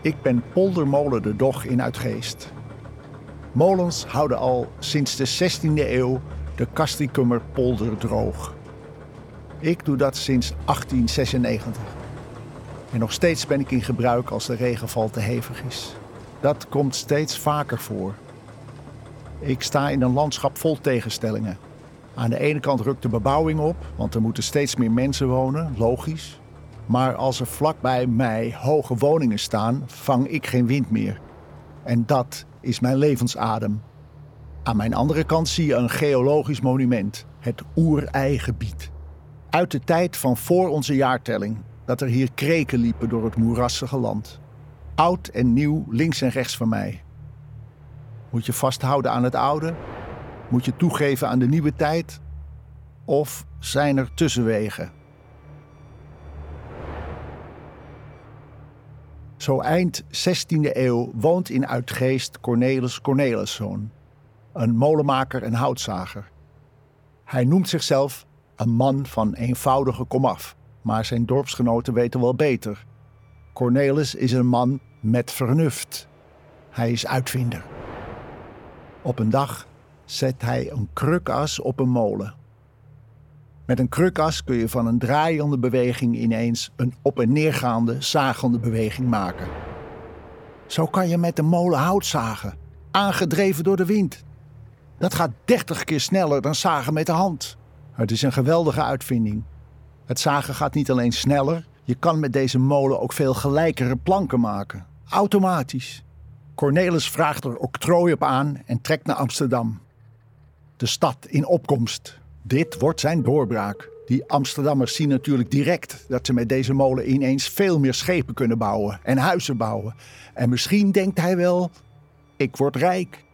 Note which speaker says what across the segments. Speaker 1: Ik ben Poldermolen de Dog in Uitgeest. Molens houden al sinds de 16e eeuw de Castricummer polder droog. Ik doe dat sinds 1896. En nog steeds ben ik in gebruik als de regenval te hevig is. Dat komt steeds vaker voor. Ik sta in een landschap vol tegenstellingen. Aan de ene kant rukt de bebouwing op, want er moeten steeds meer mensen wonen, logisch. Maar als er vlakbij mij hoge woningen staan, vang ik geen wind meer. En dat is mijn levensadem. Aan mijn andere kant zie je een geologisch monument, het Oereigebied. Uit de tijd van voor onze jaartelling, dat er hier kreken liepen door het moerassige land. Oud en nieuw, links en rechts van mij. Moet je vasthouden aan het oude? Moet je toegeven aan de nieuwe tijd? Of zijn er tussenwegen? Zo eind 16e eeuw woont in Uitgeest Cornelis Corneliszoon, een molenmaker en houtzager. Hij noemt zichzelf een man van eenvoudige komaf, maar zijn dorpsgenoten weten wel beter. Cornelis is een man met vernuft. Hij is uitvinder. Op een dag zet hij een krukas op een molen. Met een krukas kun je van een draaiende beweging ineens een op- en neergaande, zagende beweging maken. Zo kan je met de molen hout zagen, aangedreven door de wind. Dat gaat 30 keer sneller dan zagen met de hand. Het is een geweldige uitvinding. Het zagen gaat niet alleen sneller, je kan met deze molen ook veel gelijkere planken maken. Automatisch. Cornelis vraagt er octrooi op aan en trekt naar Amsterdam. De stad in opkomst. Dit wordt zijn doorbraak. Die Amsterdammers zien natuurlijk direct dat ze met deze molen ineens veel meer schepen kunnen bouwen en huizen bouwen. En misschien denkt hij wel: ik word rijk.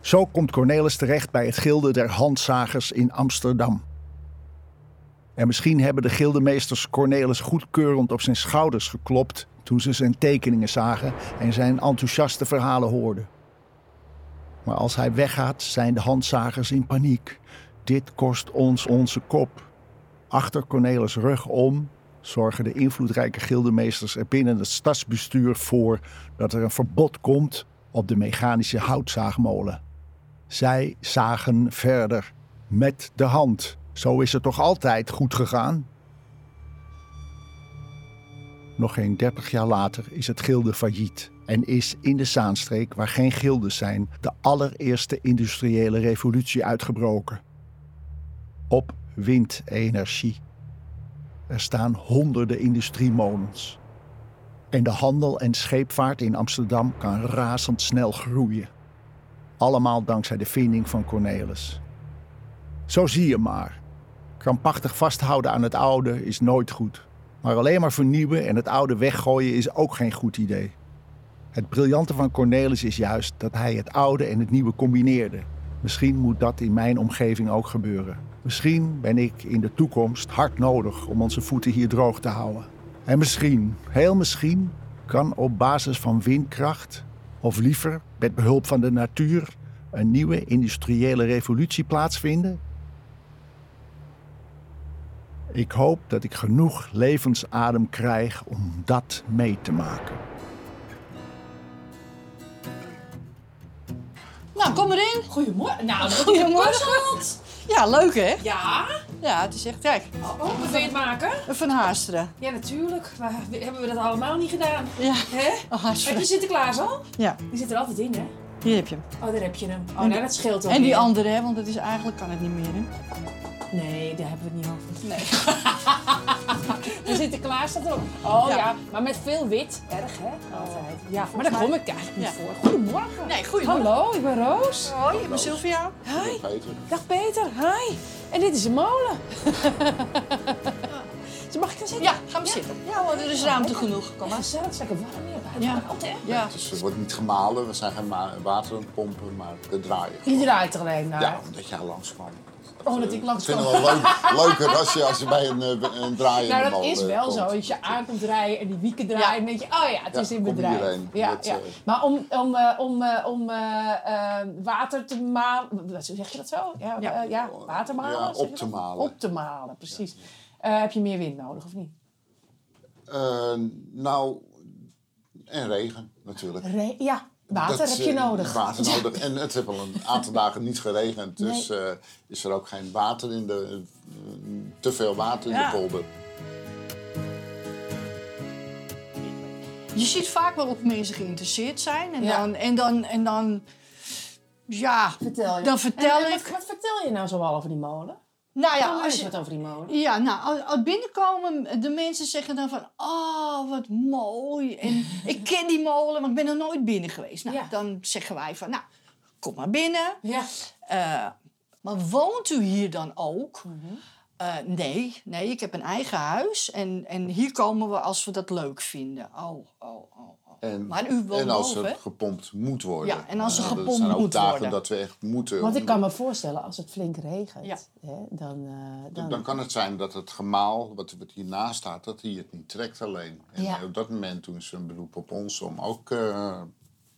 Speaker 1: Zo komt Cornelis terecht bij het Gilde der Handzagers in Amsterdam. En misschien hebben de gildemeesters Cornelis goedkeurend op zijn schouders geklopt toen ze zijn tekeningen zagen en zijn enthousiaste verhalen hoorden. Maar als hij weggaat, zijn de handzagers in paniek. Dit kost ons onze kop. Achter Cornelis' rug om zorgen de invloedrijke gildemeesters er binnen het stadsbestuur voor dat er een verbod komt op de mechanische houtzaagmolen. Zij zagen verder met de hand. Zo is het toch altijd goed gegaan? Nog geen 30 jaar later is het gilde failliet en is in de Zaanstreek, waar geen gilden zijn, de allereerste industriële revolutie uitgebroken. Op windenergie. Er staan honderden industriemolens. En de handel en scheepvaart in Amsterdam kan razendsnel groeien. Allemaal dankzij de vinding van Cornelis. Zo zie je maar. Krampachtig vasthouden aan het oude is nooit goed. Maar alleen maar vernieuwen en het oude weggooien is ook geen goed idee. Het briljante van Cornelis is juist dat hij het oude en het nieuwe combineerde. Misschien moet dat in mijn omgeving ook gebeuren. Misschien ben ik in de toekomst hard nodig om onze voeten hier droog te houden. En misschien, heel misschien, kan op basis van windkracht, of liever met behulp van de natuur, een nieuwe industriële revolutie plaatsvinden? Ik hoop dat ik genoeg levensadem krijg om dat mee te maken.
Speaker 2: Nou, kom erin.
Speaker 3: Goedemorgen. Nou, dat
Speaker 2: Goedemorgen.
Speaker 3: geborsteld.
Speaker 2: Ja, leuk hè?
Speaker 3: Ja.
Speaker 2: Ja, het is echt, kijk,
Speaker 3: Oh, oh, wil je het maken?
Speaker 2: een Van Haasteren.
Speaker 3: Ja, natuurlijk. Maar we- hebben we dat allemaal niet gedaan?
Speaker 2: Ja,
Speaker 3: Hè?
Speaker 2: een
Speaker 3: Heb
Speaker 2: Haasteren.
Speaker 3: je Sinterklaas al?
Speaker 2: Ja,
Speaker 3: Die zit er altijd in, hè?
Speaker 2: hier heb je hem.
Speaker 3: Oh, daar heb je hem. Oh,
Speaker 2: En-
Speaker 3: nou, dat scheelt ook
Speaker 2: En die
Speaker 3: weer.
Speaker 2: andere, hè, want het is eigenlijk kan het niet meer. Hè?
Speaker 3: Nee, daar hebben we het niet over.
Speaker 2: Nee.
Speaker 3: De Sinterklaas staat erop. Oh
Speaker 2: Ja.
Speaker 3: ja. maar met veel wit. Erg, hè? Altijd. Ja, maar
Speaker 2: Volgens mij-
Speaker 3: daar kom ik eigenlijk niet
Speaker 2: Ja.
Speaker 3: voor. Goedemorgen.
Speaker 2: Nee, goedemorgen.
Speaker 3: Hallo, ik ben Roos.
Speaker 2: Hoi, ik ben Sylvia.
Speaker 3: Hi. Dag Peter. Hi. En dit is een molen. Dus Mag ik gaan zitten?
Speaker 2: Ja, ga maar zitten. Ja hoor, er is ruimte genoeg. Kom
Speaker 3: Maar
Speaker 2: maar.
Speaker 3: gezellig, het is lekker warm hier buiten.
Speaker 2: Ja.
Speaker 3: Koud, hè?
Speaker 2: Ja,
Speaker 4: Dus er wordt niet gemalen, we zijn geen ma- water aan het pompen, maar we draaien.
Speaker 3: Je draait er alleen naar.
Speaker 4: Ja, omdat jij langskwam.
Speaker 3: Oh, dat ik langskwam.
Speaker 4: Ik vind het wel leuk, leuker als je, als je bij een, eh, een draaiende
Speaker 3: Nou, dat
Speaker 4: molen
Speaker 3: is wel
Speaker 4: komt.
Speaker 3: zo. Als je aankomt rijden en die wieken draaien, dan denk je, oh ja, het
Speaker 4: Ja,
Speaker 3: is in
Speaker 4: kom
Speaker 3: bedrijf.
Speaker 4: hierheen.
Speaker 3: Ja,
Speaker 4: Dat,
Speaker 3: ja.
Speaker 4: eh,
Speaker 3: Maar om, om, eh, om, eh, om eh, eh, water te malen, wat zeg je dat zo? Ja, eh,
Speaker 2: Ja.
Speaker 3: ja. ja water malen.
Speaker 4: Ja,
Speaker 3: zeg je
Speaker 4: op
Speaker 3: dat?
Speaker 4: te malen.
Speaker 3: Op te malen, precies. Eh, heb je meer wind nodig of niet?
Speaker 4: Eh, nou, en regen natuurlijk.
Speaker 3: Re- ja, water
Speaker 4: Dat,
Speaker 3: heb je
Speaker 4: eh,
Speaker 3: nodig.
Speaker 4: Water
Speaker 3: Ja.
Speaker 4: nodig. En het heeft al een aantal dagen niet geregend. Dus eh, is er ook geen water in de... eh, te veel water in
Speaker 2: Ja.
Speaker 4: de polder.
Speaker 2: Je ziet vaak wel of mensen geïnteresseerd zijn. En
Speaker 3: Ja.
Speaker 2: dan... En dan, en dan ja,
Speaker 3: Vertel je.
Speaker 2: Dan vertel
Speaker 3: En- en
Speaker 2: ik-
Speaker 3: Wat, wat vertel je nou zoal over die molen?
Speaker 2: nou ja,
Speaker 3: Ja,
Speaker 2: als,
Speaker 3: als je wat over die molen.
Speaker 2: Ja, nou, als, als binnenkomen, de mensen zeggen dan van, oh, wat mooi. En ik ken die molen, maar ik ben er nooit binnen geweest. Nou,
Speaker 3: Ja.
Speaker 2: dan zeggen wij van, nou, kom maar binnen.
Speaker 3: Ja.
Speaker 2: Eh, maar woont u hier dan ook? Eh, nee, nee, ik heb een eigen huis. En, en hier komen we als we dat leuk vinden. Oh, oh, oh. oh.
Speaker 4: En,
Speaker 2: Maar u woont
Speaker 4: en als er
Speaker 2: boven.
Speaker 4: gepompt moet worden.
Speaker 2: Ja, en als er
Speaker 4: Eh,
Speaker 2: gepompt
Speaker 4: Dat zijn ook
Speaker 2: moet
Speaker 4: dagen
Speaker 2: worden.
Speaker 4: dat we echt moeten.
Speaker 3: Want ik kan me voorstellen, als het flink regent,
Speaker 2: Ja.
Speaker 3: hè, dan, eh, dan,
Speaker 4: Dan kan het zijn dat het gemaal, wat, wat hiernaast staat, dat hij het niet trekt alleen. En
Speaker 3: Ja.
Speaker 4: op dat moment doen ze een beroep op ons om ook... eh,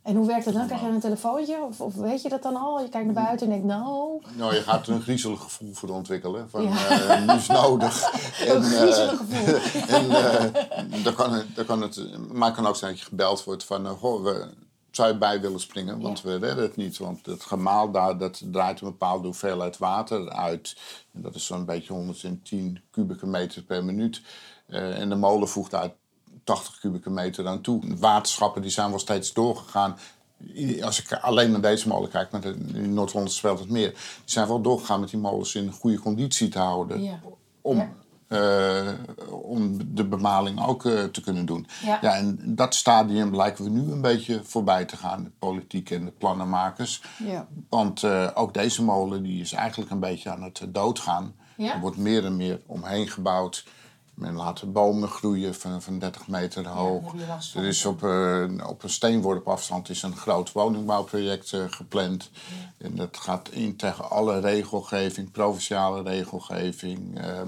Speaker 3: En hoe werkt dat dan? Krijg je dan een telefoontje? Of, of weet je dat dan al? Je kijkt
Speaker 4: Mm.
Speaker 3: naar buiten en denkt, nou...
Speaker 4: nou, je gaat er een griezelig gevoel voor ontwikkelen. Van,
Speaker 3: Ja.
Speaker 4: eh, nu is nodig. En, eh,
Speaker 3: griezelig gevoel.
Speaker 4: En eh, dan kan het, dan kan het, maar het kan ook zijn dat je gebeld wordt van... eh, goh, we, zou je bij willen springen? Want
Speaker 3: Ja.
Speaker 4: we redden het niet. Want het gemaal daar, dat draait een bepaalde hoeveelheid water uit. En dat is zo'n beetje 110 kubieke meter per minuut. Eh, en de molen voegt daar 80 kubieke meter aan toe. Waterschappen die zijn wel steeds doorgegaan. I- Als ik alleen naar deze molen kijk, maar de- in Noord-Holland speelt het meer. Die zijn wel doorgegaan met die molens in goede conditie te houden
Speaker 3: Ja.
Speaker 4: om,
Speaker 3: Ja.
Speaker 4: eh, om de bemaling ook eh, te kunnen doen.
Speaker 3: Ja.
Speaker 4: en dat stadium lijken we nu een beetje voorbij te gaan, de politiek en de plannenmakers.
Speaker 2: Ja.
Speaker 4: Want eh, ook deze molen die is eigenlijk een beetje aan het eh, doodgaan.
Speaker 3: Ja.
Speaker 4: Er wordt meer en meer omheen gebouwd. Men laat bomen groeien van, van 30 meter
Speaker 3: daar
Speaker 4: hoog.
Speaker 3: heb je last van.
Speaker 4: er is op, eh, op een steenworp afstand is een groot woningbouwproject eh, gepland. En dat gaat in tegen alle regelgeving, provinciale regelgeving, eh,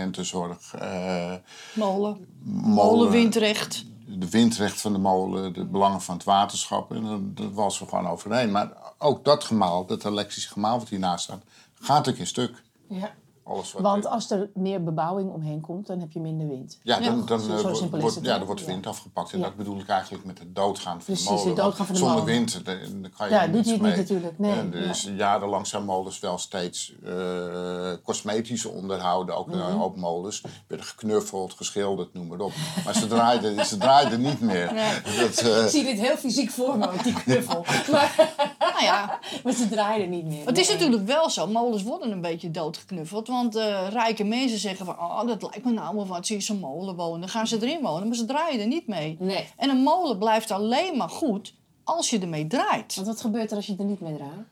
Speaker 4: monumentenzorg, eh,
Speaker 2: Molen.
Speaker 4: molen-
Speaker 2: Molen windrecht.
Speaker 4: de windrecht van de molen, de belangen van het waterschap. En dan- dat was we gewoon overeen. Maar ook dat gemaal, dat elektrische gemaal wat hiernaast staat, gaat ook in stuk.
Speaker 3: Ja.
Speaker 4: Alles wat
Speaker 3: Want als er meer bebouwing omheen komt, dan heb je minder wind.
Speaker 4: ja, dan, dan,
Speaker 3: zo
Speaker 4: eh,
Speaker 3: simpel
Speaker 4: wordt-
Speaker 3: is
Speaker 4: wordt,
Speaker 3: het,
Speaker 4: ja,
Speaker 3: hè?
Speaker 4: dan wordt de wind afgepakt. En
Speaker 3: Ja.
Speaker 4: dat bedoel ik eigenlijk met het doodgaan van
Speaker 3: Precies,
Speaker 4: de molen.
Speaker 3: het doodgaan van de
Speaker 4: Zonder
Speaker 3: molen.
Speaker 4: wind, eh, dan kan je
Speaker 3: Ja,
Speaker 4: er
Speaker 3: doet
Speaker 4: niets
Speaker 3: hij het
Speaker 4: mee.
Speaker 3: niet natuurlijk, nee,
Speaker 4: En dus jarenlang zijn molens wel steeds eh cosmetisch onderhouden. Ook
Speaker 3: Mhm.
Speaker 4: een hoop molens werden geknuffeld, geschilderd, noem maar op. Maar ze draaiden, ze draaiden niet meer. Dat, eh,
Speaker 3: Ik zie dit heel fysiek voor me, met die knuffel. maar,
Speaker 2: Nou ja,
Speaker 3: maar ze draaien niet meer.
Speaker 2: Het is natuurlijk wel zo, molens worden een beetje doodgeknuffeld. Want eh, rijke mensen zeggen van, oh, dat lijkt me nou wel wat, zie je zo'n molen wonen. Dan gaan ze erin wonen, maar ze draaien er niet mee.
Speaker 3: Nee.
Speaker 2: En een molen blijft alleen maar goed als je ermee draait.
Speaker 3: Want wat gebeurt er als je er niet mee draait?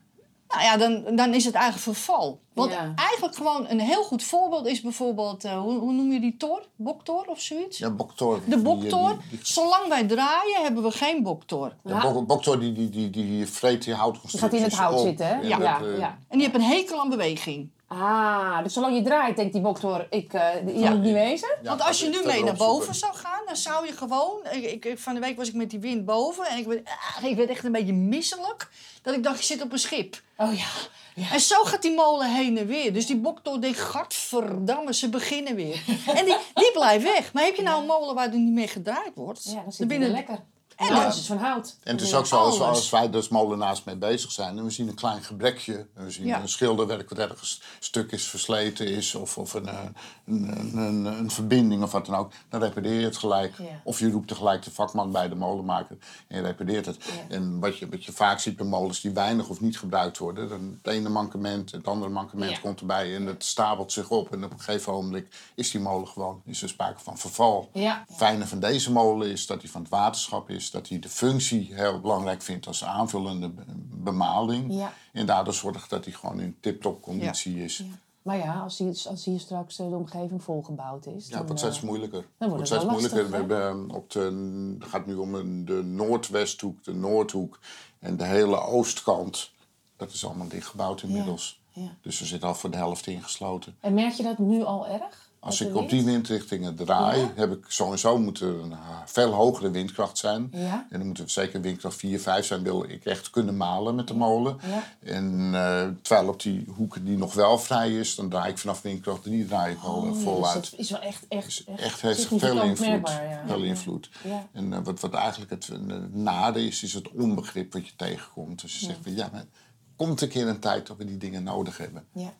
Speaker 2: Nou ja, dan, dan is het eigenlijk verval. Want
Speaker 3: Ja.
Speaker 2: eigenlijk gewoon een heel goed voorbeeld is bijvoorbeeld, eh, hoe, hoe noem je die tor? Boktor of zoiets?
Speaker 4: ja, Boktor.
Speaker 2: De
Speaker 4: die- eh,
Speaker 2: boktor.
Speaker 4: die- die-
Speaker 2: Zolang wij draaien hebben we geen boktor.
Speaker 4: Ja, Bok- Boktor die, die, die, die vreet die houtconstructies
Speaker 3: Gaat hij in het hout
Speaker 4: op.
Speaker 3: zitten, hè?
Speaker 4: En
Speaker 3: Ja,
Speaker 4: dat,
Speaker 3: ja,
Speaker 4: eh,
Speaker 3: ja.
Speaker 2: En die hebben een hekel aan beweging.
Speaker 3: Ah, dus zolang je draait, denkt die boktor, ik eh die- die moet ik niet wezen?
Speaker 4: ja,
Speaker 2: Want als je
Speaker 4: dat-
Speaker 2: nu
Speaker 4: dat
Speaker 2: mee naar
Speaker 4: erop zoeken.
Speaker 2: boven zou gaan, dan zou je gewoon... Ik, ik- ik, van de week was ik met die wind boven en ik werd, ah, ik werd echt een beetje misselijk. Dat ik dacht, je zit op een schip.
Speaker 3: Oh ja. ja.
Speaker 2: En zo gaat die molen heen en weer. Dus die boktor denkt, gadverdamme, ze beginnen weer. en die, die blijft weg. Maar heb je nou een molen waar er niet mee gedraaid wordt?
Speaker 3: Ja, dan
Speaker 2: dan
Speaker 3: zit
Speaker 2: ben
Speaker 3: je
Speaker 2: je-
Speaker 3: er lekker. En
Speaker 2: Ja.
Speaker 3: alles is dus van hout.
Speaker 4: En het is ook zo, als,
Speaker 2: Alles.
Speaker 4: als wij dus molenaars mee bezig zijn en we zien een klein gebrekje, en we zien
Speaker 2: Ja.
Speaker 4: een schilderwerk wat ergens stuk is versleten is, of, of een, eh, een, een, een, een verbinding of wat dan ook, dan repareer je het gelijk.
Speaker 3: Ja.
Speaker 4: Of je roept tegelijk de vakman bij de molenmaker en je repareert het. En wat je, wat je vaak ziet bij molens die weinig of niet gebruikt worden, dan het ene mankement, het andere mankement
Speaker 3: Ja.
Speaker 4: komt erbij en het stapelt zich op. En op een gegeven ogenblik is die molen gewoon, is er sprake van verval
Speaker 3: Ja.
Speaker 4: fijne van deze molen is dat hij van het waterschap is, dat hij de functie heel belangrijk vindt als aanvullende be- bemaling.
Speaker 3: Ja.
Speaker 4: En daardoor zorgt dat hij gewoon in tip-top conditie is. Ja,
Speaker 3: Maar ja, als hier, als hier straks eh, de omgeving volgebouwd is.
Speaker 4: het wordt
Speaker 3: eh,
Speaker 4: steeds moeilijker.
Speaker 3: wordt
Speaker 4: wordt
Speaker 3: het
Speaker 4: steeds
Speaker 3: wel
Speaker 4: moeilijker.
Speaker 3: lastig,
Speaker 4: We hebben eh, op de, het gaat nu om een- de noordwesthoek, de noordhoek en de hele oostkant. Dat is allemaal dichtgebouwd inmiddels.
Speaker 3: Ja.
Speaker 4: Dus we zitten al voor de helft ingesloten.
Speaker 3: En merk je dat nu al erg?
Speaker 4: Als
Speaker 3: Dat
Speaker 4: ik
Speaker 3: de
Speaker 4: op die
Speaker 3: wind-
Speaker 4: windrichtingen draai, heb ik sowieso moet er een ha- veel hogere windkracht zijn.
Speaker 3: Ja.
Speaker 4: En dan moet er zeker windkracht 4, 5 zijn, wil ik echt kunnen malen met de molen.
Speaker 3: Ja.
Speaker 4: En eh, terwijl op die hoeken die nog wel vrij is, dan draai ik vanaf windkracht 3 draai ik al eh,
Speaker 3: Oh, ja,
Speaker 4: voluit.
Speaker 3: dus dat is wel echt, echt,
Speaker 4: Dus echt heeft veel
Speaker 3: significant
Speaker 4: invloed.
Speaker 3: merkbaar, ja.
Speaker 4: Veel invloed.
Speaker 3: Ja.
Speaker 4: En eh, wat, wat eigenlijk het eh, nade is, is het onbegrip wat je tegenkomt. Dus je zegt van ja, maar komt een keer een tijd dat we die dingen nodig hebben.
Speaker 3: Ja.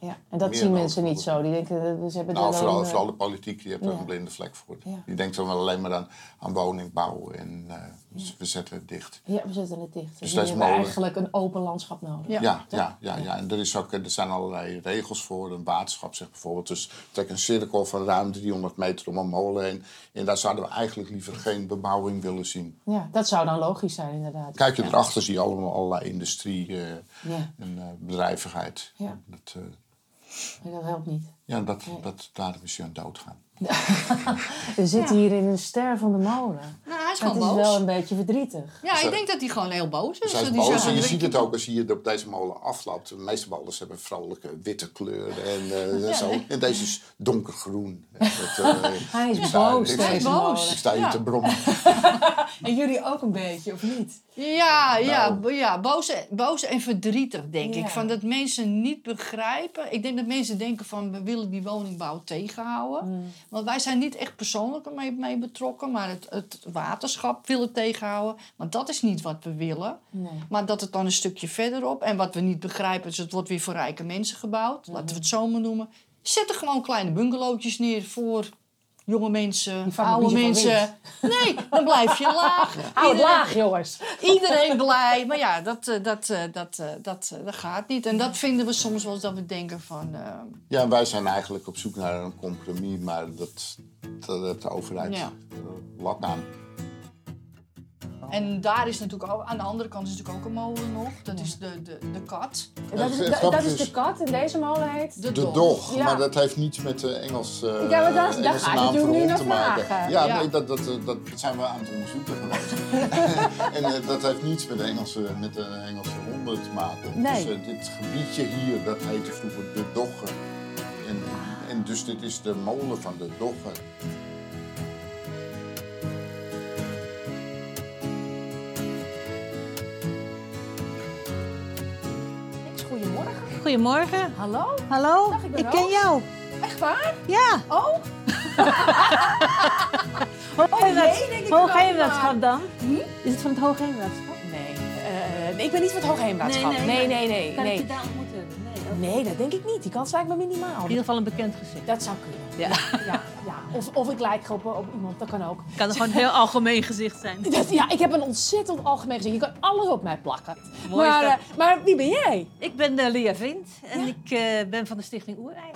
Speaker 3: ja. En dat
Speaker 4: Meer
Speaker 3: zien
Speaker 4: dan
Speaker 3: mensen
Speaker 4: over-
Speaker 3: niet zo. Die denken, eh, ze hebben
Speaker 4: Nou,
Speaker 3: er
Speaker 4: vooral,
Speaker 3: dan, eh,
Speaker 4: vooral de politiek, die hebt er
Speaker 3: ja.
Speaker 4: een blinde vlek voor.
Speaker 3: Ja.
Speaker 4: Die denkt dan wel alleen maar aan, aan woningbouw en eh, dus we zetten het dicht.
Speaker 3: Ja, we zetten het dicht. Dus
Speaker 4: dat
Speaker 3: we
Speaker 4: is
Speaker 3: hebben
Speaker 4: molen.
Speaker 3: eigenlijk een open landschap nodig.
Speaker 2: Ja.
Speaker 4: Ja, ja, ja, ja, en er, is ook, er zijn allerlei regels voor. Een waterschap zegt bijvoorbeeld, dus trek een cirkel van ruim 300 meter om een molen heen. En daar zouden we eigenlijk liever geen bebouwing willen zien.
Speaker 3: Ja, dat zou dan logisch zijn inderdaad.
Speaker 4: Kijk je
Speaker 3: Ja.
Speaker 4: erachter, zie je allemaal allerlei industrie eh,
Speaker 3: Ja.
Speaker 4: en eh, bedrijvigheid.
Speaker 3: Ja.
Speaker 4: Dat, eh,
Speaker 3: Nee, dat helpt niet.
Speaker 4: ja, dat, dat, daar is je aan doodgaan.
Speaker 3: We zitten hier in een ster van de molen.
Speaker 2: Nou, hij is
Speaker 3: Dat
Speaker 2: gewoon
Speaker 3: is
Speaker 2: boos.
Speaker 3: wel een beetje verdrietig.
Speaker 2: Ja, ik denk dat hij gewoon heel boos
Speaker 3: Dus
Speaker 2: is.
Speaker 4: Zij
Speaker 2: Dat
Speaker 4: Dus is
Speaker 2: hij
Speaker 4: boos
Speaker 2: zo-
Speaker 4: en je ziet het ook als je hier op deze molen aflapt. De meeste molens hebben vrolijke witte kleuren en eh, zo. En deze is donkergroen. En dat, eh,
Speaker 3: Hij is
Speaker 4: ik sta-
Speaker 3: boos,
Speaker 4: Ik,
Speaker 3: deze
Speaker 4: ik
Speaker 2: molen.
Speaker 4: sta hier
Speaker 2: Ja.
Speaker 4: te brommen.
Speaker 3: En jullie ook een beetje, of niet?
Speaker 2: Ja, ja,
Speaker 4: Nou.
Speaker 2: bo- ja boos, en- boos en verdrietig, denk
Speaker 3: Ja.
Speaker 2: ik. Van dat mensen niet begrijpen. Ik denk dat mensen denken van, we willen die woningbouw tegenhouden.
Speaker 3: Hmm.
Speaker 2: Want wij zijn niet echt persoonlijk ermee mee betrokken. Maar het, het waterschap wil het tegenhouden. Want dat is niet wat we willen.
Speaker 3: Nee.
Speaker 2: Maar dat het dan een stukje verderop... En wat we niet begrijpen is, het wordt weer voor rijke mensen gebouwd.
Speaker 3: Hmm.
Speaker 2: Laten we het zo maar noemen. Zet er gewoon kleine bungalowtjes neer voor... Jonge mensen,
Speaker 3: vangen
Speaker 2: oude
Speaker 3: niet zoveel
Speaker 2: mensen. Nee, dan blijf je laag.
Speaker 3: Hou het
Speaker 2: Iedereen-
Speaker 3: laag, jongens.
Speaker 2: Iedereen blij. Maar ja, dat, eh, dat, eh, dat, eh, dat, eh, dat gaat niet. En dat vinden we soms wel eens dat we denken van... eh,
Speaker 4: Ja, wij zijn eigenlijk op zoek naar een compromis, maar dat, dat heeft de overheid
Speaker 2: Ja.
Speaker 4: eh, lak aan.
Speaker 2: en daar is natuurlijk ook... Aan de andere kant is natuurlijk ook een molen nog. Dat is de, de, de kat.
Speaker 3: Dat is, dat, dat is de kat in deze molen heet.
Speaker 2: De,
Speaker 4: De
Speaker 2: dog.
Speaker 4: dog,
Speaker 3: Ja.
Speaker 4: maar dat heeft niets met de Engels, eh
Speaker 3: Ja, maar daar- daar
Speaker 4: Engelse
Speaker 3: ga ik
Speaker 4: naam voor
Speaker 3: natuurlijk nu
Speaker 4: hond
Speaker 3: naar
Speaker 4: te maken.
Speaker 3: vragen.
Speaker 4: Ja,
Speaker 2: Ja.
Speaker 4: Nee, dat, dat, eh, dat zijn we aan het onderzoeken geweest. en eh, dat heeft niets met de Engelse, met de Engelse honden te maken.
Speaker 3: Nee.
Speaker 4: Dus eh, dit gebiedje hier, dat heette vroeger de Doggen. En,
Speaker 3: Ah.
Speaker 4: en dus dit is de molen van de Doggen.
Speaker 3: Goedemorgen.
Speaker 5: Goedemorgen.
Speaker 3: Hallo?
Speaker 5: Hallo,
Speaker 3: Dag, ik ben
Speaker 5: ken
Speaker 3: Roos.
Speaker 5: jou.
Speaker 3: Echt waar?
Speaker 5: Ja.
Speaker 3: Oh?
Speaker 5: Hoog
Speaker 3: nee, denk ik
Speaker 5: Hoog
Speaker 3: wel,
Speaker 5: Heemraadschap dan? Is het van het Hoog Heemraadschap?
Speaker 3: Hm? Nee. eh, nee, ik ben niet van het Hoogheemraadschap. Nee,
Speaker 5: Nee,
Speaker 3: nee,
Speaker 5: nee,
Speaker 3: nee. nee,
Speaker 5: Kan ik je
Speaker 3: nee.
Speaker 5: daar ontmoeten? Nee. ook.
Speaker 3: dat denk ik niet. Die kans lijkt me minimaal.
Speaker 5: In ieder geval een bekend gezicht.
Speaker 3: Dat zou kunnen.
Speaker 5: Ja.
Speaker 3: Ja, ja, ja. Of, of ik lijk op, op iemand, dat kan ook.
Speaker 5: Het kan gewoon een heel algemeen gezicht zijn.
Speaker 3: Dat- ja, ik heb een ontzettend algemeen gezicht. Je kan alles op mij plakken.
Speaker 5: Mooi is
Speaker 3: maar,
Speaker 5: dat.
Speaker 3: eh, maar wie ben jij?
Speaker 5: Ik ben eh, Lia Vriend en ik eh, ben van de stichting Oerei.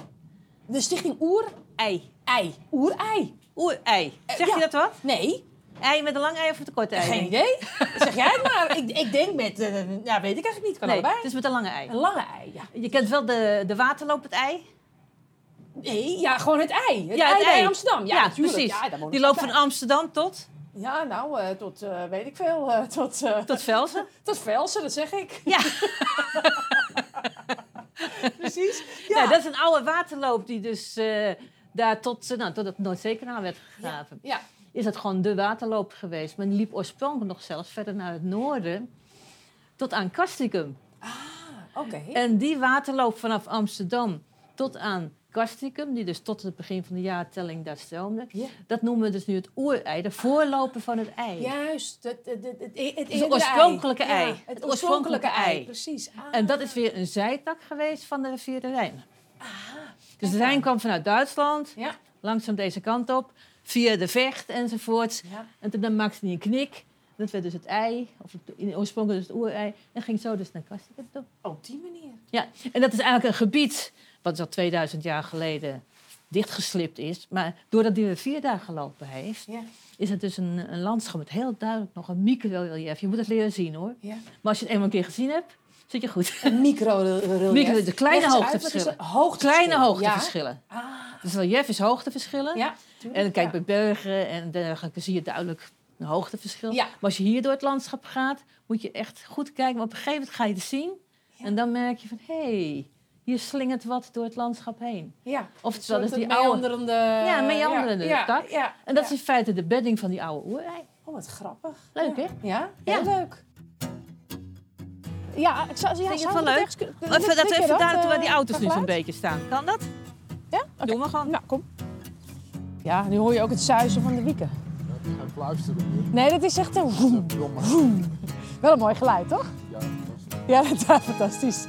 Speaker 3: De stichting Oer-Ei.
Speaker 5: Ei.
Speaker 3: Oer-Ei.
Speaker 5: Oerei. Zeg
Speaker 3: Eh, ja.
Speaker 5: je dat wat?
Speaker 3: Nee,
Speaker 5: Ei met een lang ei of met een korte ei?
Speaker 3: geen
Speaker 5: Nee.
Speaker 3: idee. zeg jij het maar. Ik, ik denk met... eh, ja, weet ik eigenlijk niet. Kan
Speaker 5: Nee,
Speaker 3: allebei.
Speaker 5: het is met een lange ei.
Speaker 3: Een Oh, lange ei, ja.
Speaker 5: Je kent wel de, de waterloop, het ei.
Speaker 3: Nee, ja, gewoon het ei. Het ei bij Amsterdam. Ja, natuurlijk.
Speaker 5: precies.
Speaker 3: Ja, daar woon ik
Speaker 5: Die loopt
Speaker 3: vlakbij.
Speaker 5: van Amsterdam tot,
Speaker 3: Ja, nou, eh, tot, eh, weet ik veel, eh, tot, eh
Speaker 5: tot Velsen.
Speaker 3: tot Velsen, dat zeg ik.
Speaker 5: Ja.
Speaker 3: Precies.
Speaker 5: Nee, Nou, dat is een oude waterloop die dus eh, daar tot, eh, nou, tot het Noordzeekanaal werd gegraven.
Speaker 3: Ja,
Speaker 5: Is dat gewoon de waterloop geweest. Men liep oorspronkelijk nog zelfs verder naar het noorden. Tot aan Castricum.
Speaker 3: Ah, oké.
Speaker 5: En die waterloop vanaf Amsterdam tot aan Castricum, die dus tot het begin van de jaartelling daar stroomde.
Speaker 3: Ja.
Speaker 5: Dat noemen we dus nu het oerei, de voorloper van het ei.
Speaker 3: Juist, het, het, het, het, het
Speaker 5: is een
Speaker 3: eerdere
Speaker 5: oorspronkelijke
Speaker 3: ei.
Speaker 5: ei.
Speaker 3: Ja,
Speaker 5: Het
Speaker 3: het oorspronkelijke
Speaker 5: oorspronkelijke
Speaker 3: ei,
Speaker 5: ei.
Speaker 3: precies. Ah.
Speaker 5: En dat is weer een zijtak geweest van de rivier de Rijn.
Speaker 3: Ah,
Speaker 5: Dus de Rijn kwam vanuit Duitsland,
Speaker 3: Ja.
Speaker 5: langzaam deze kant op, via de Vecht enzovoorts.
Speaker 3: Ja.
Speaker 5: En toen dan maakte hij een knik. Dat werd dus het ei, of het, in- oorspronkelijk dus het oerei. En ging zo dus naar Kastrikum toe.
Speaker 3: Op die manier.
Speaker 5: Ja, en dat is eigenlijk een gebied wat al 2000 jaar geleden dichtgeslipt is. Maar doordat die rivier daar gelopen heeft,
Speaker 3: Ja,
Speaker 5: is het dus een, een landschap met heel duidelijk nog een microrelief. Je moet het leren zien hoor.
Speaker 3: ja.
Speaker 5: Maar als je het eenmaal een keer gezien hebt, zit je goed.
Speaker 3: Micro, de,
Speaker 5: Micro- de kleine hoogteverschillen. Kleine
Speaker 3: hoogteverschillen.
Speaker 5: hoogteverschillen.
Speaker 3: Ja. Ah,
Speaker 5: Dus relief is hoogteverschillen.
Speaker 3: ja.
Speaker 5: En
Speaker 3: tuurlijk,
Speaker 5: kijk,
Speaker 3: ja.
Speaker 5: bij bergen en dergelijke zie je duidelijk een hoogteverschil.
Speaker 3: Ja.
Speaker 5: Maar als je hier door het landschap gaat, moet je echt goed kijken. Want op een gegeven moment ga je het zien. En dan merk je van, hé, hey, Hier slingert wat door het landschap heen.
Speaker 3: Ja.
Speaker 5: Oftewel, dat is die oude...
Speaker 3: meanderende...
Speaker 5: Ja, meanderende
Speaker 3: ja,
Speaker 5: tak.
Speaker 3: Ja, ja,
Speaker 5: En dat is in feite de bedding van die oude oerei.
Speaker 3: Oh, wat grappig.
Speaker 5: Leuk, hè?
Speaker 3: Ja,
Speaker 5: Ja.
Speaker 3: heel leuk. Ja, ik zou, ja,
Speaker 5: je
Speaker 3: zou
Speaker 5: van
Speaker 3: we dat
Speaker 5: leuk?
Speaker 3: ergens kunnen-
Speaker 5: Even, dat
Speaker 3: Klik je
Speaker 5: even daar,
Speaker 3: eh,
Speaker 5: terwijl die auto's nu zo'n
Speaker 3: geluid?
Speaker 5: beetje staan. Kan dat?
Speaker 3: Ja? Oké.
Speaker 5: Doen we gewoon.
Speaker 3: Nou, kom. Ja, nu hoor je ook het zuizen van de wieken.
Speaker 4: Ik ga fluisteren.
Speaker 3: Nee, dat is echt een... woem, woem. Wel een mooi geluid, toch? Ja, dat is fantastisch.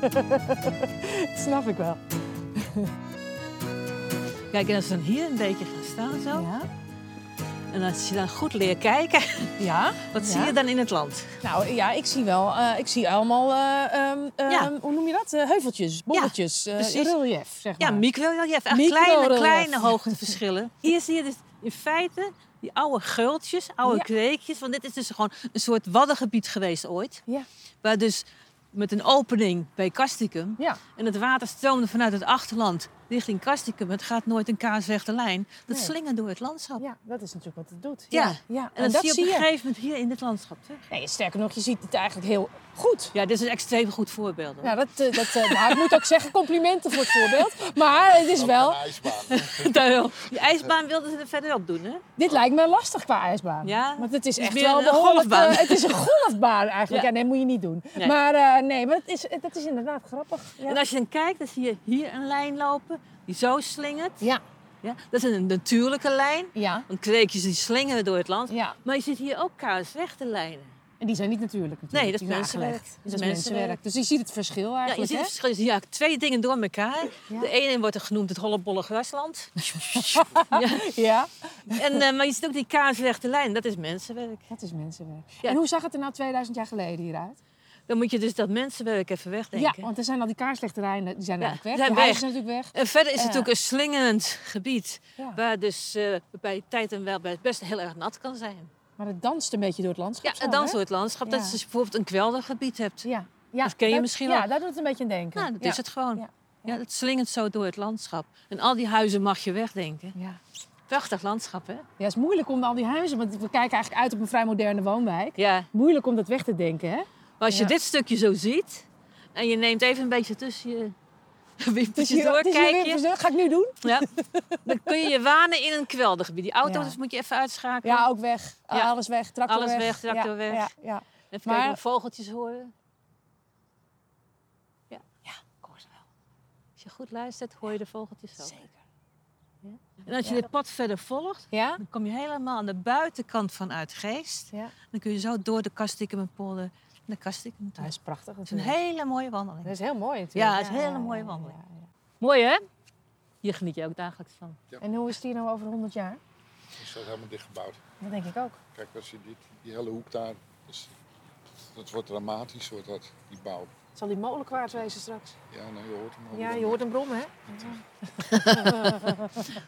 Speaker 3: dat snap ik wel.
Speaker 5: Kijk, en als ze dan hier een beetje gaan staan zo.
Speaker 3: Ja?
Speaker 5: En als je dan goed leert kijken,
Speaker 3: Ja?
Speaker 5: wat
Speaker 3: Ja.
Speaker 5: zie je dan in het land?
Speaker 3: Nou ja, ik zie wel, eh, ik zie allemaal, eh, ehm, ehm,
Speaker 5: Ja.
Speaker 3: hoe noem je dat? Eh, heuveltjes, bolletjes, eh,
Speaker 5: precies.
Speaker 3: relief, zeg
Speaker 5: Ja,
Speaker 3: maar.
Speaker 5: microrelief. Echt kleine,
Speaker 3: Microrelief.
Speaker 5: kleine hoogteverschillen. Hier zie je dus in feite die oude geultjes, oude
Speaker 3: Ja.
Speaker 5: kreekjes. Want dit is dus gewoon een soort waddengebied geweest ooit.
Speaker 3: Ja.
Speaker 5: Waar dus met een opening bij Castricum.
Speaker 3: Ja.
Speaker 5: En het water stroomde vanuit het achterland richting Castricum. Het gaat nooit een kaarsrechte lijn. Dat
Speaker 3: Nee.
Speaker 5: slingert door het landschap.
Speaker 3: ja, dat is natuurlijk wat het doet.
Speaker 5: Ja.
Speaker 3: ja. En,
Speaker 5: En, dat,
Speaker 3: dat
Speaker 5: zie je op
Speaker 3: je.
Speaker 5: een gegeven moment hier in dit landschap terug.
Speaker 3: Nee, sterker nog, je ziet het eigenlijk heel goed.
Speaker 5: Ja, dit is een extreem goed voorbeeld. hoor.
Speaker 3: Ja, dat, eh, dat, eh, nou, ik moet ook zeggen, complimenten voor het voorbeeld. Maar het is wel,
Speaker 5: Daarom. Die ijsbaan wilden ze er verder op doen, hè?
Speaker 3: dit lijkt me lastig qua ijsbaan.
Speaker 5: Ja,
Speaker 3: Want het is
Speaker 5: het is
Speaker 3: echt
Speaker 5: meer
Speaker 3: wel
Speaker 5: een
Speaker 3: behoorlijk,
Speaker 5: golfbaan.
Speaker 3: eh, het is een golfbaan eigenlijk.
Speaker 5: Ja.
Speaker 3: Ja, nee, moet je niet doen.
Speaker 5: Nee.
Speaker 3: Maar eh, nee, maar het is, dat is inderdaad grappig. Ja.
Speaker 5: En als je dan kijkt, dan zie je hier een lijn lopen die zo slingert.
Speaker 3: Ja,
Speaker 5: Ja, dat is een natuurlijke lijn,
Speaker 3: ja,
Speaker 5: want kweekjes die slingeren door het land.
Speaker 3: ja.
Speaker 5: Maar je ziet hier ook kaarsrechte lijnen.
Speaker 3: En die zijn niet natuurlijk. natuurlijk.
Speaker 5: Nee, dat
Speaker 3: Die
Speaker 5: is
Speaker 3: zijn
Speaker 5: mensenwerk.
Speaker 3: aangelegd.
Speaker 5: Dat
Speaker 3: Dat is
Speaker 5: is mensenwerk.
Speaker 3: mensenwerk. Dus je ziet het verschil
Speaker 5: Ja, je
Speaker 3: eigenlijk.
Speaker 5: ziet het
Speaker 3: hè?
Speaker 5: verschil. Je ziet Ja, twee dingen door elkaar.
Speaker 3: Ja.
Speaker 5: De ene wordt er genoemd het hollebolle grasland.
Speaker 3: Ja,
Speaker 5: en, eh, maar je ziet ook die kaarsrechte lijn, dat is mensenwerk.
Speaker 3: dat is mensenwerk.
Speaker 5: Ja.
Speaker 3: En hoe zag het er nou 2000 jaar geleden hieruit?
Speaker 5: Dan moet je dus dat mensenwerk even wegdenken.
Speaker 3: Ja, want er zijn al die kaarslichterijen, die zijn
Speaker 5: Ja,
Speaker 3: eigenlijk weg. De
Speaker 5: die zijn weg.
Speaker 3: huis is natuurlijk weg.
Speaker 5: En verder is het
Speaker 3: Ja.
Speaker 5: ook een slingerend gebied.
Speaker 3: Ja.
Speaker 5: Waar dus eh, bij tijd en wel bij best heel erg nat kan zijn.
Speaker 3: Maar het danst een beetje door het
Speaker 5: Ja,
Speaker 3: landschap. zo,
Speaker 5: en dan
Speaker 3: hè?
Speaker 5: zo het landschap. Dat
Speaker 3: Ja.
Speaker 5: je dus bijvoorbeeld een kweldergebied hebt.
Speaker 3: Ja. ja.
Speaker 5: Dat ken je misschien
Speaker 3: Ja,
Speaker 5: wel.
Speaker 3: daar doet het een beetje aan denken.
Speaker 5: Nou, dat
Speaker 3: ja.
Speaker 5: is het gewoon. Ja.
Speaker 3: Ja.
Speaker 5: het slingert zo door het landschap. En al die huizen mag je wegdenken.
Speaker 3: Ja.
Speaker 5: Prachtig landschap, hè?
Speaker 3: ja, het is moeilijk om al die huizen, want we kijken eigenlijk uit op een vrij moderne woonwijk.
Speaker 5: Ja.
Speaker 3: Moeilijk om dat weg te denken, hè?
Speaker 5: Maar als je
Speaker 3: Ja.
Speaker 5: dit stukje zo ziet... en je neemt even een beetje tussen je
Speaker 3: Dus
Speaker 5: wimpertjes door, kijk je...
Speaker 3: Ga ik nu doen?
Speaker 5: Ja, dan kun je je wanen in een kweldergebied. Die auto's
Speaker 3: Ja.
Speaker 5: moet je even uitschakelen.
Speaker 3: Ja, ook weg.
Speaker 5: Ja.
Speaker 3: Alles weg. Tractor
Speaker 5: Alles
Speaker 3: weg.
Speaker 5: weg, tractor
Speaker 3: ja.
Speaker 5: weg.
Speaker 3: Ja, ja.
Speaker 5: Even
Speaker 3: maar-
Speaker 5: kijken of vogeltjes horen. Ja. ja, ik hoor ze wel. Als je goed luistert, hoor je de vogeltjes ook.
Speaker 3: Zeker.
Speaker 5: En als je dit pad verder volgt,
Speaker 3: Ja?
Speaker 5: dan kom je helemaal aan de buitenkant van Uitgeest.
Speaker 3: Ja.
Speaker 5: Dan kun je zo door de Kastikemenpolder naar Kastikum toe.
Speaker 3: Dat
Speaker 5: Het
Speaker 3: is prachtig.
Speaker 5: is een hele mooie wandeling.
Speaker 3: Dat is heel mooi natuurlijk.
Speaker 5: Ja, het is een hele mooie wandeling. Mooi hè? Hier geniet je ook dagelijks van.
Speaker 3: En hoe is die nou over 100 jaar?
Speaker 4: Is dat helemaal dichtgebouwd?
Speaker 3: Dat denk ik ook.
Speaker 4: Kijk, als je dit, die hele hoek daar. is- dat wordt dramatisch, wordt dat, die bouw.
Speaker 3: Zal die molen kwaad wezen straks?
Speaker 4: Ja, nou, je hoort hem al.
Speaker 3: Ja, je hoort hem brommen, hè?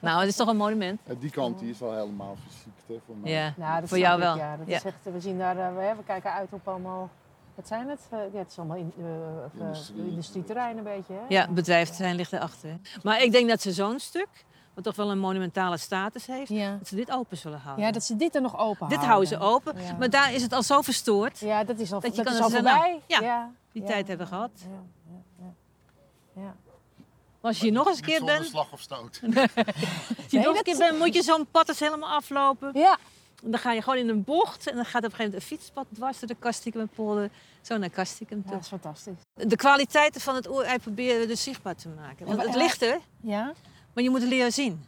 Speaker 5: Nou, het is toch een monument?
Speaker 4: Eh, Die kant die is al helemaal verziekt, hè, voor mij.
Speaker 5: Ja,
Speaker 3: Nou, dat
Speaker 5: voor
Speaker 3: snap
Speaker 5: jou
Speaker 3: ik,
Speaker 5: wel.
Speaker 3: Ja, dat
Speaker 5: Ja.
Speaker 3: is echt, we zien daar, eh, we, hè, we kijken uit op allemaal, wat zijn het? Eh, ja, het is allemaal in, eh, eh,
Speaker 4: Industrie.
Speaker 3: industrieterrein een beetje, hè?
Speaker 5: Ja, bedrijventerrein ligt erachter. Maar ik denk dat ze zo'n stuk, wat toch wel een monumentale status heeft,
Speaker 3: Ja.
Speaker 5: dat ze dit open zullen houden.
Speaker 3: Ja, dat ze dit er nog open
Speaker 5: Dit houden ze open,
Speaker 3: Ja.
Speaker 5: maar daar is het al zo verstoord.
Speaker 3: Ja, dat is al,
Speaker 5: Dat
Speaker 3: dat
Speaker 5: je kan
Speaker 3: is al
Speaker 5: zeggen, nou,
Speaker 3: voorbij.
Speaker 5: ja,
Speaker 3: ja.
Speaker 5: Die
Speaker 3: ja,
Speaker 5: tijd hebben we gehad.
Speaker 3: Ja, ja, ja. ja.
Speaker 5: Maar als je hier nog eens een keer
Speaker 4: Niet zonder
Speaker 5: bent,
Speaker 4: slag of stoot.
Speaker 5: als je hier
Speaker 3: Nee,
Speaker 5: nog eens een keer
Speaker 3: dat-
Speaker 5: bent, moet je zo'n pad eens helemaal aflopen.
Speaker 3: Ja,
Speaker 5: En dan ga je gewoon in een bocht en dan gaat op een gegeven moment een fietspad dwars door de Kastikum en Polder, zo naar Kastikum toe.
Speaker 3: dat is fantastisch.
Speaker 5: De kwaliteiten van het oerei proberen we dus zichtbaar te maken. Want
Speaker 3: maar-
Speaker 5: het ligt er,
Speaker 3: Ja?
Speaker 5: maar je moet het leren zien.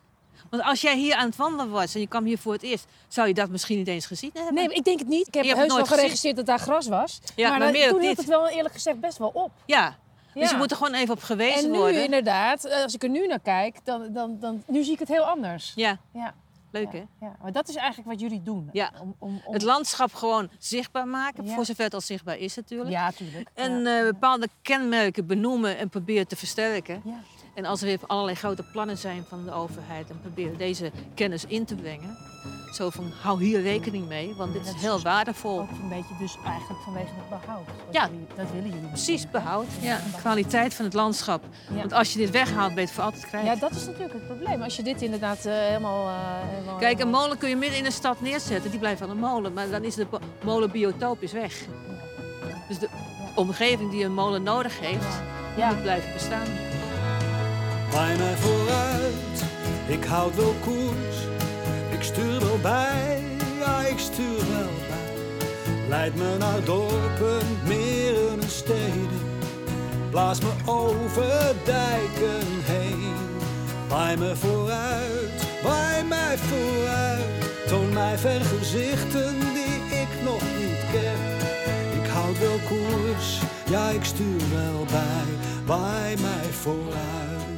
Speaker 5: Want als jij hier aan het wandelen was en je kwam hier voor het eerst, zou je dat misschien niet eens gezien hebben.
Speaker 3: Nee, maar ik denk het niet. Ik heb
Speaker 5: Je hebt het
Speaker 3: heus wel
Speaker 5: nooit gezien.
Speaker 3: geregistreerd dat daar gras was.
Speaker 5: Ja, maar
Speaker 3: dan-
Speaker 5: meer ook
Speaker 3: toen hield
Speaker 5: niet.
Speaker 3: het wel eerlijk gezegd best wel op.
Speaker 5: Ja, dus
Speaker 3: Ja.
Speaker 5: je moet er gewoon even op gewezen
Speaker 3: En nu
Speaker 5: worden.
Speaker 3: inderdaad, eh, als ik er nu naar kijk, dan, dan, dan nu zie ik het heel anders.
Speaker 5: Ja,
Speaker 3: Ja,
Speaker 5: leuk hè?
Speaker 3: ja, ja. Maar dat is eigenlijk wat jullie doen.
Speaker 5: Ja.
Speaker 3: Om, om, om...
Speaker 5: Het landschap gewoon zichtbaar maken,
Speaker 3: Ja.
Speaker 5: voor zover het al zichtbaar is natuurlijk.
Speaker 3: Ja, tuurlijk.
Speaker 5: En
Speaker 3: ja.
Speaker 5: eh, bepaalde kenmerken benoemen en proberen te versterken.
Speaker 3: Ja.
Speaker 5: En als er weer allerlei grote plannen zijn van de overheid, dan proberen deze kennis in te brengen. Zo van, hou hier rekening mee, want dit is
Speaker 3: Dat is
Speaker 5: heel waardevol.
Speaker 3: Ook een beetje dus eigenlijk vanwege het behoud. Wat
Speaker 5: eh, Ja.
Speaker 3: jullie- dat willen jullie.
Speaker 5: Precies behoud, ja. de kwaliteit van het landschap.
Speaker 3: Ja.
Speaker 5: Want als je dit weghaalt, ben je het voor altijd kwijt.
Speaker 3: Ja, dat is natuurlijk het probleem. Als je dit inderdaad eh, helemaal, eh, helemaal...
Speaker 5: Kijk, een
Speaker 3: helemaal-
Speaker 5: molen kun je midden in een stad neerzetten, die blijft wel een molen. Maar dan is de bo- molenbiotoop is weg. Dus de omgeving die een molen nodig heeft,
Speaker 3: Ja.
Speaker 5: moet blijven bestaan.
Speaker 6: Bij mij vooruit, ik houd wel koers. Ik stuur wel bij, ja, ik stuur wel bij. Leid me naar dorpen, meren en steden. Blaas me over dijken heen. Waai me vooruit, waai mij vooruit. Toon mij vergezichten die ik nog niet ken. Ik houd wel koers, ja ik stuur wel bij. Waai mij vooruit.